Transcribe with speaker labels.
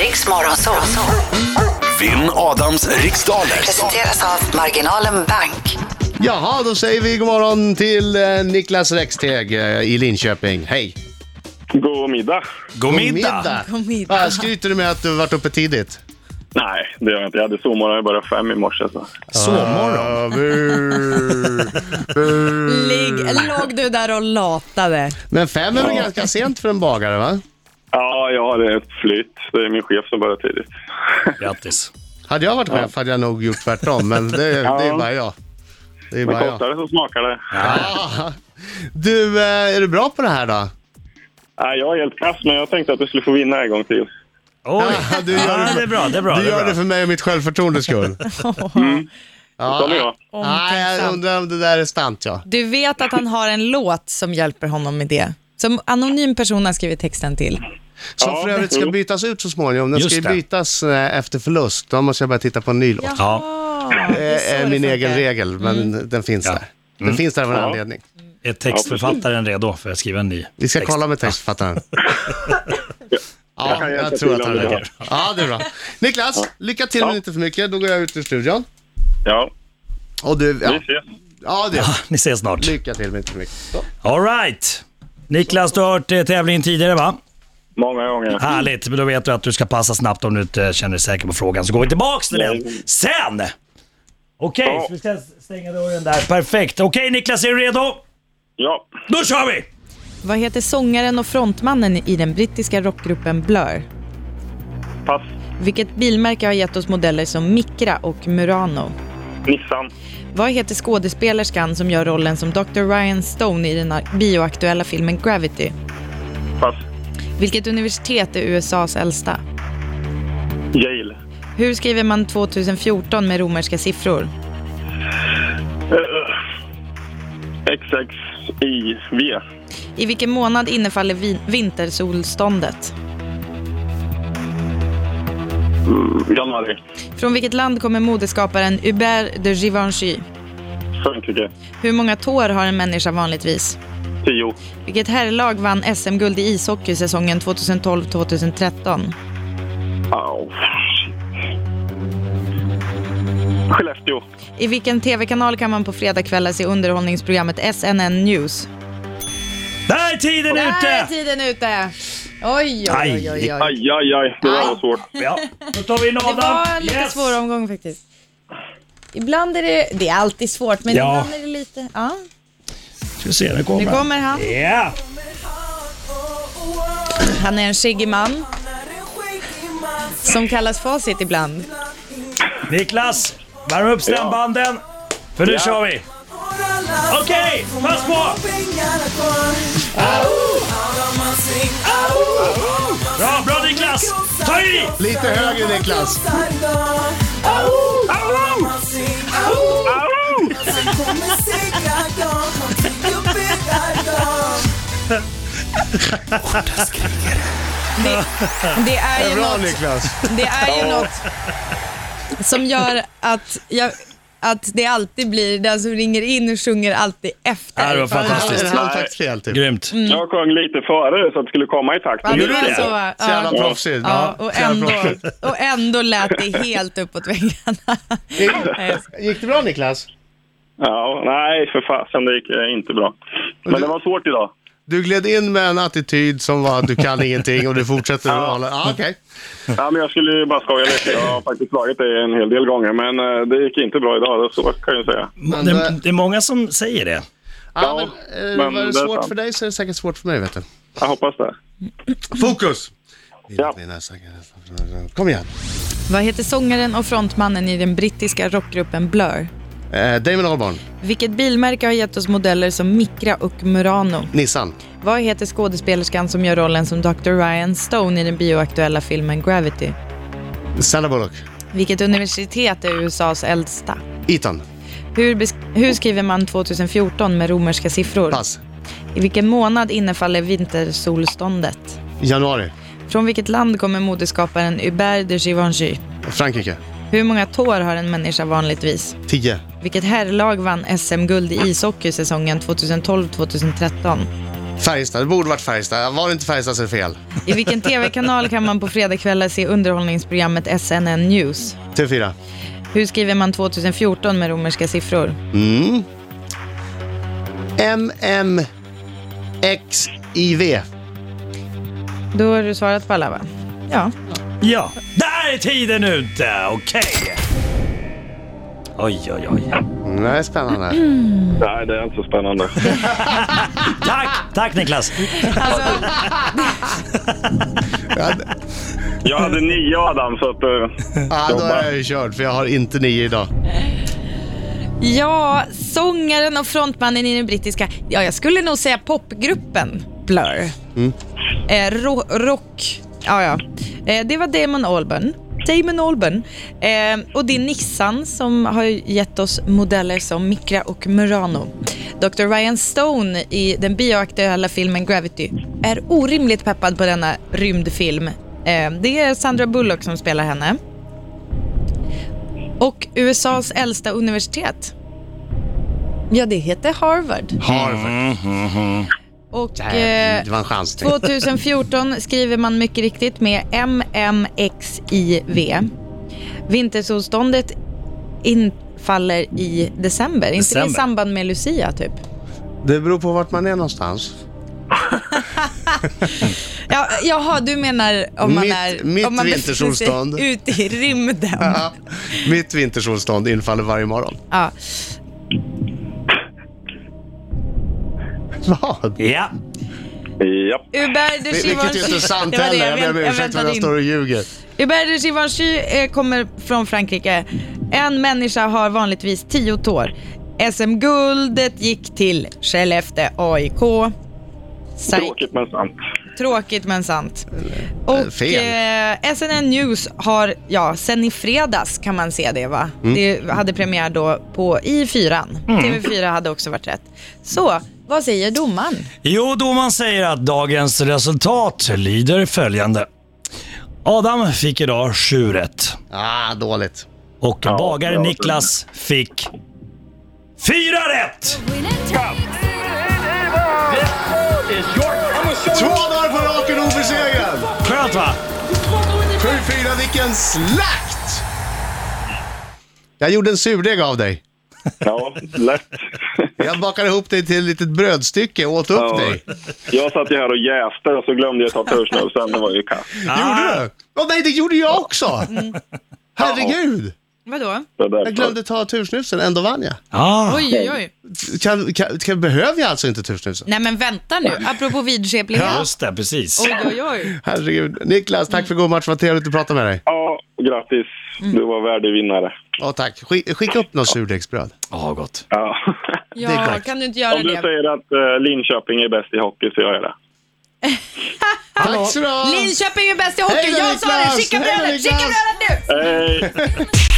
Speaker 1: Riks Morgonzoo.
Speaker 2: Vinn Adams riksdaler.
Speaker 1: Presenteras av Marginalen Bank.
Speaker 3: Jaha, då säger vi god morgon till eh, Niklas Räcksteg eh, i Linköping. Hej!
Speaker 4: God middag.
Speaker 2: God middag!
Speaker 5: God middag.
Speaker 3: Ah, skryter du med att du varit uppe tidigt?
Speaker 4: Nej, det gör jag inte. Jag hade sovmorgon bara fem i morse. Så.
Speaker 2: Sovmorgon.
Speaker 3: Ah, bu- bu-
Speaker 5: Ligg, låg du där och latade?
Speaker 3: Men fem är väl ganska sent för en bagare, va?
Speaker 4: Ja, jag har ett flytt. Det är min chef som börjar tidigt.
Speaker 2: Grattis.
Speaker 3: Hade jag varit chef hade jag nog gjort tvärtom, men det, det är bara jag. Det är
Speaker 4: Det
Speaker 3: bara jag.
Speaker 4: kostar det som smakar det.
Speaker 3: Ah. Du, eh, är du bra på det här då?
Speaker 4: Nej, jag är helt kass, men jag tänkte att du skulle få vinna en gång till.
Speaker 6: Oj!
Speaker 3: Ja, du gör det
Speaker 6: ja,
Speaker 3: för-
Speaker 6: det är bra, det är bra.
Speaker 3: Du
Speaker 6: det är
Speaker 3: gör
Speaker 6: bra.
Speaker 3: det för mig och mitt självförtroendes skull. Ja.
Speaker 4: Som jag.
Speaker 3: Nej, jag
Speaker 5: Omtänksam.
Speaker 3: undrar om det där är sant ja.
Speaker 5: Du vet att han har en låt som hjälper honom med det. Som anonym person har skrivit texten till.
Speaker 3: Som
Speaker 4: Ja,
Speaker 3: för övrigt ska
Speaker 4: jo.
Speaker 3: bytas ut så småningom. Den
Speaker 6: Just
Speaker 3: ska ju
Speaker 6: det.
Speaker 3: bytas eh, efter förlust. Då måste jag börja titta på en ny låt.
Speaker 5: Jaha,
Speaker 3: Ah, Det är Eh, min egen
Speaker 5: funkar. Mm.
Speaker 3: regel, men den finns
Speaker 6: Ja.
Speaker 3: där. Den finns där av en
Speaker 4: Mm. Ja.
Speaker 3: anledning.
Speaker 6: Är textförfattaren redo för att skriva en ny
Speaker 3: Vi ska
Speaker 6: text?
Speaker 3: kolla med textförfattaren.
Speaker 4: Jag
Speaker 3: Ja,
Speaker 4: kan hjälpa
Speaker 3: jag tror
Speaker 4: till
Speaker 3: att han
Speaker 4: om
Speaker 3: är
Speaker 4: det
Speaker 3: det. Ja, det är bra. Niklas, lycka till men
Speaker 4: Ja.
Speaker 3: inte för mycket. Då går jag ut ur studion.
Speaker 4: Ja,
Speaker 3: Och du,
Speaker 4: vi
Speaker 3: ja,
Speaker 4: ses.
Speaker 3: ja det.
Speaker 6: Ni ses snart.
Speaker 3: Lycka till men inte för mycket. Så.
Speaker 6: All right. Niklas, du har hört eh, tävlingen tidigare va?
Speaker 4: Många gånger.
Speaker 6: Härligt, men då vet du att du ska passa snabbt om du inte känner dig säker på frågan. Så går vi tillbaks till den sen! Okej,
Speaker 4: Ja.
Speaker 6: så vi ska stänga dörren där. Perfekt. Okej Niklas, är du redo?
Speaker 4: Ja.
Speaker 6: Då kör vi!
Speaker 5: Vad heter sångaren och frontmannen i den brittiska rockgruppen Blur?
Speaker 4: Pass.
Speaker 5: Vilket bilmärke har gett oss modeller som Micra och Murano?
Speaker 4: Nissan.
Speaker 5: Vad heter skådespelerskan som gör rollen som Dr. Ryan Stone i den bioaktuella filmen Gravity?
Speaker 4: Pass.
Speaker 5: Vilket universitet är USAs äldsta?
Speaker 4: Yale.
Speaker 5: Hur skriver man 2014 med romerska siffror?
Speaker 4: Eh, XXIV.
Speaker 5: I vilken månad innefaller vi- vintersolståndet?
Speaker 4: Mm, Januari.
Speaker 5: Från vilket land kommer modeskaparen Hubert de Givenchy?
Speaker 4: Frankrike.
Speaker 5: Hur många tår har en människa vanligtvis?
Speaker 4: 10.
Speaker 5: Vilket herrlag vann SM-guld i ishockey säsongen 2012-2013?
Speaker 4: Oh. Skellefteå.
Speaker 5: I vilken tv-kanal kan man på fredagkvällar se underhållningsprogrammet SNN News?
Speaker 6: Där är tiden
Speaker 5: Där är
Speaker 6: ute!
Speaker 5: tiden ute! Oj, oj, oj, oj. oj.
Speaker 4: Aj, aj, aj. Det där var svårt.
Speaker 6: Ja, då tar vi in
Speaker 5: Det
Speaker 6: Adam.
Speaker 5: var en lite
Speaker 6: Yes.
Speaker 5: svår omgång faktiskt. Ibland är det... Det är alltid svårt, men
Speaker 6: Ja.
Speaker 5: ibland är det lite... Ja,
Speaker 6: Ska vi se, nu
Speaker 5: nu
Speaker 6: kommer han.
Speaker 5: kommer han.
Speaker 6: Ja!
Speaker 5: Han är en skäggig man som kallas Facit ibland.
Speaker 6: Niklas, värm upp stämbanden. För nu
Speaker 4: Ja.
Speaker 6: kör vi. Okej, pass på! Bra, bra Niklas! Ta i!
Speaker 3: Lite högre Niklas.
Speaker 6: Au!
Speaker 5: Det, det är ju
Speaker 3: Bra
Speaker 5: något,
Speaker 3: Niklas.
Speaker 5: det är ju något som gör att, jag, att det alltid blir den som ringer in och sjunger alltid efter.
Speaker 6: Ja, det var fantastiskt.
Speaker 3: En halvtaktsfel typ.
Speaker 6: Grymt.
Speaker 4: Jag sjöng lite före så att det skulle komma i takt.
Speaker 5: Ja, det
Speaker 6: Gjorde
Speaker 5: var
Speaker 6: du det?
Speaker 5: så, va?
Speaker 3: Så jävla
Speaker 5: Ja.
Speaker 3: proffsigt.
Speaker 5: Ja, och,
Speaker 3: Så jävla
Speaker 5: ändå,
Speaker 3: proffsigt.
Speaker 5: och ändå lät det helt uppåt väggarna. Nej,
Speaker 3: Gick det bra Niklas?
Speaker 4: Ja, nej, för fasen. Det gick eh, inte bra. Men det var svårt idag.
Speaker 3: Du gled in med en attityd som var att du kan ingenting och du fortsätter att hålla... Ja, okej.
Speaker 4: Ja, men jag skulle ju bara skoja lite. Jag har faktiskt slagit det en hel del gånger, men eh, det gick inte bra idag. Så kan jag ju säga.
Speaker 3: Men, eh,
Speaker 6: Det, det är många som säger det.
Speaker 3: Ja,
Speaker 4: Ja,
Speaker 3: men, eh,
Speaker 4: men
Speaker 3: var det
Speaker 4: det är
Speaker 3: svårt
Speaker 4: sant.
Speaker 3: för dig så är det säkert svårt för mig, vet du.
Speaker 4: Jag hoppas det.
Speaker 3: Fokus!
Speaker 4: Ja.
Speaker 3: Kom igen.
Speaker 5: Vad heter sångaren och frontmannen i den brittiska rockgruppen Blur?
Speaker 3: Eh, Damon Albarn,
Speaker 5: Vilket bilmärke har gett oss modeller som Micra och Murano?
Speaker 3: Nissan.
Speaker 5: Vad heter skådespelerskan som gör rollen som Dr. Ryan Stone i den bioaktuella filmen Gravity?
Speaker 3: Sandra Bullock,
Speaker 5: Vilket universitet är USAs äldsta?
Speaker 3: Eton,
Speaker 5: Hur, besk- hur skriver man 2014 med romerska siffror?
Speaker 3: pass.
Speaker 5: I vilken månad innefaller vintersolståndet?
Speaker 3: Januari,
Speaker 5: Från vilket land kommer modeskaparen Hubert de Givenchy?
Speaker 3: Frankrike,
Speaker 5: Hur många tår har en människa vanligtvis?
Speaker 3: 10.
Speaker 5: Vilket herrlag vann SM-guld i ishockey säsongen 2012-2013?
Speaker 3: Färjestad, det borde varit Färjestad. Var det inte Färjestad så är det fel.
Speaker 5: I vilken tv-kanal kan man på fredagskvällar se underhållningsprogrammet SNN News?
Speaker 3: TV4.
Speaker 5: Hur skriver man 2014 med romerska siffror?
Speaker 3: Mm. MMXIV.
Speaker 5: Då har du svarat på alla va? Ja.
Speaker 6: Ja, där är tiden ute! Okej. Oj, oj, oj.
Speaker 3: Mm, Det är spännande.
Speaker 4: Nej, det är inte så spännande.
Speaker 6: Tack, tack Niklas.
Speaker 5: Alltså,
Speaker 3: Ja,
Speaker 4: Jag hade nio Adam, så att... eh,
Speaker 3: ah, då är jag ju körd för jag har inte nio idag.
Speaker 5: ja, sångaren och frontmannen i den brittiska, ja jag skulle nog säga popgruppen Blur. Eh, ro rock, ja ja. Eh, det var Damon Albarn. Damon Albarn. Eh, och det är Nissan som har gett oss modeller som Micra och Murano. Dr. Ryan Stone i den bioaktuella filmen Gravity är orimligt peppad på denna rymdfilm. Eh, det är Sandra Bullock som spelar henne. Och USAs äldsta universitet. Ja, det heter Harvard.
Speaker 3: Harvard.
Speaker 5: Och... eh,
Speaker 3: Det var en chansning.
Speaker 5: 2014 skriver man mycket riktigt med MMXIV. Vintersolståndet infaller i december. Inte det i
Speaker 6: December.
Speaker 5: samband med Lucia, typ?
Speaker 3: Det beror på vart man är någonstans.
Speaker 5: Ja, jaha, du menar om man
Speaker 3: Mitt-
Speaker 5: är...
Speaker 3: mitt
Speaker 5: om man befinner sig
Speaker 3: vintersolstånd.
Speaker 5: Ute i rymden.
Speaker 3: Ja. Mitt vintersolstånd infaller varje morgon.
Speaker 5: Ja.
Speaker 3: Vad?
Speaker 6: Ja,
Speaker 4: Japp.
Speaker 5: Uberder
Speaker 3: Vil- Vilket ju inte är sant heller. Jag ber om ursäkt för att jag står och ljuger.
Speaker 5: Hubert Givenchy eh, kommer från Frankrike. En människa har vanligtvis tio tår. SM-guldet gick till Skellefteå AIK. Sai-
Speaker 4: Tråkigt men sant.
Speaker 5: Tråkigt men sant. Och eh,
Speaker 3: fel.
Speaker 5: SNN News har, ja, sen i fredags kan man se det va?
Speaker 3: Mm.
Speaker 5: Det hade premiär då på i 4 TV4 hade också varit rätt. Så, vad säger domaren?
Speaker 6: Jo, domaren säger att dagens resultat lyder följande. Adam fick idag sju rätt
Speaker 3: Ah, dåligt.
Speaker 6: och
Speaker 4: Ja,
Speaker 6: bagare
Speaker 4: bra.
Speaker 6: Niklas fick fyra rätt!
Speaker 3: Två dagar på raken obesegrad!
Speaker 6: Skönt va?
Speaker 3: 7-4, vilken slakt! Jag gjorde en surdeg av dig.
Speaker 4: Ja, lätt.
Speaker 3: Jag bakade ihop dig till ett litet brödstycke och åt upp
Speaker 4: Ja.
Speaker 3: dig.
Speaker 4: Jag satt ju här och jäste och så glömde jag ta törsnösen. Det var ju kass.
Speaker 3: Gjorde du? Åh nej, det gjorde jag också! Herregud!
Speaker 5: Vadå?
Speaker 4: Det där-
Speaker 3: Jag glömde ta tursnusen, ändå vann jag.
Speaker 6: Ah.
Speaker 5: Oj, oj, oj.
Speaker 3: Kan, kan, kan, behöver jag alltså inte tursnusen?
Speaker 5: Nej men vänta nu, apropå vidskeplighet.
Speaker 6: Just det, precis.
Speaker 5: Oj, oj, oj.
Speaker 3: Herregud. Niklas, tack för god match. Vad trevligt att prata med dig.
Speaker 4: Ja, grattis.
Speaker 5: Mm.
Speaker 4: Du var värdig vinnare.
Speaker 3: Ja, tack. Skick, skicka upp något surdegsbröd.
Speaker 6: Ja, gott.
Speaker 4: Ja.
Speaker 3: är
Speaker 5: Ja,
Speaker 3: klart.
Speaker 5: kan du inte göra
Speaker 4: Om du
Speaker 5: det?
Speaker 4: säger att eh, Linköping är bäst i hockey så gör jag det.
Speaker 3: Tack så du ha.
Speaker 5: Linköping är bäst i hockey,
Speaker 3: Hej då,
Speaker 5: jag sa det!
Speaker 3: Niklas!
Speaker 5: Skicka
Speaker 3: Hej då,
Speaker 5: brödet, skicka
Speaker 3: Niklas!
Speaker 5: brödet nu!
Speaker 4: Hej!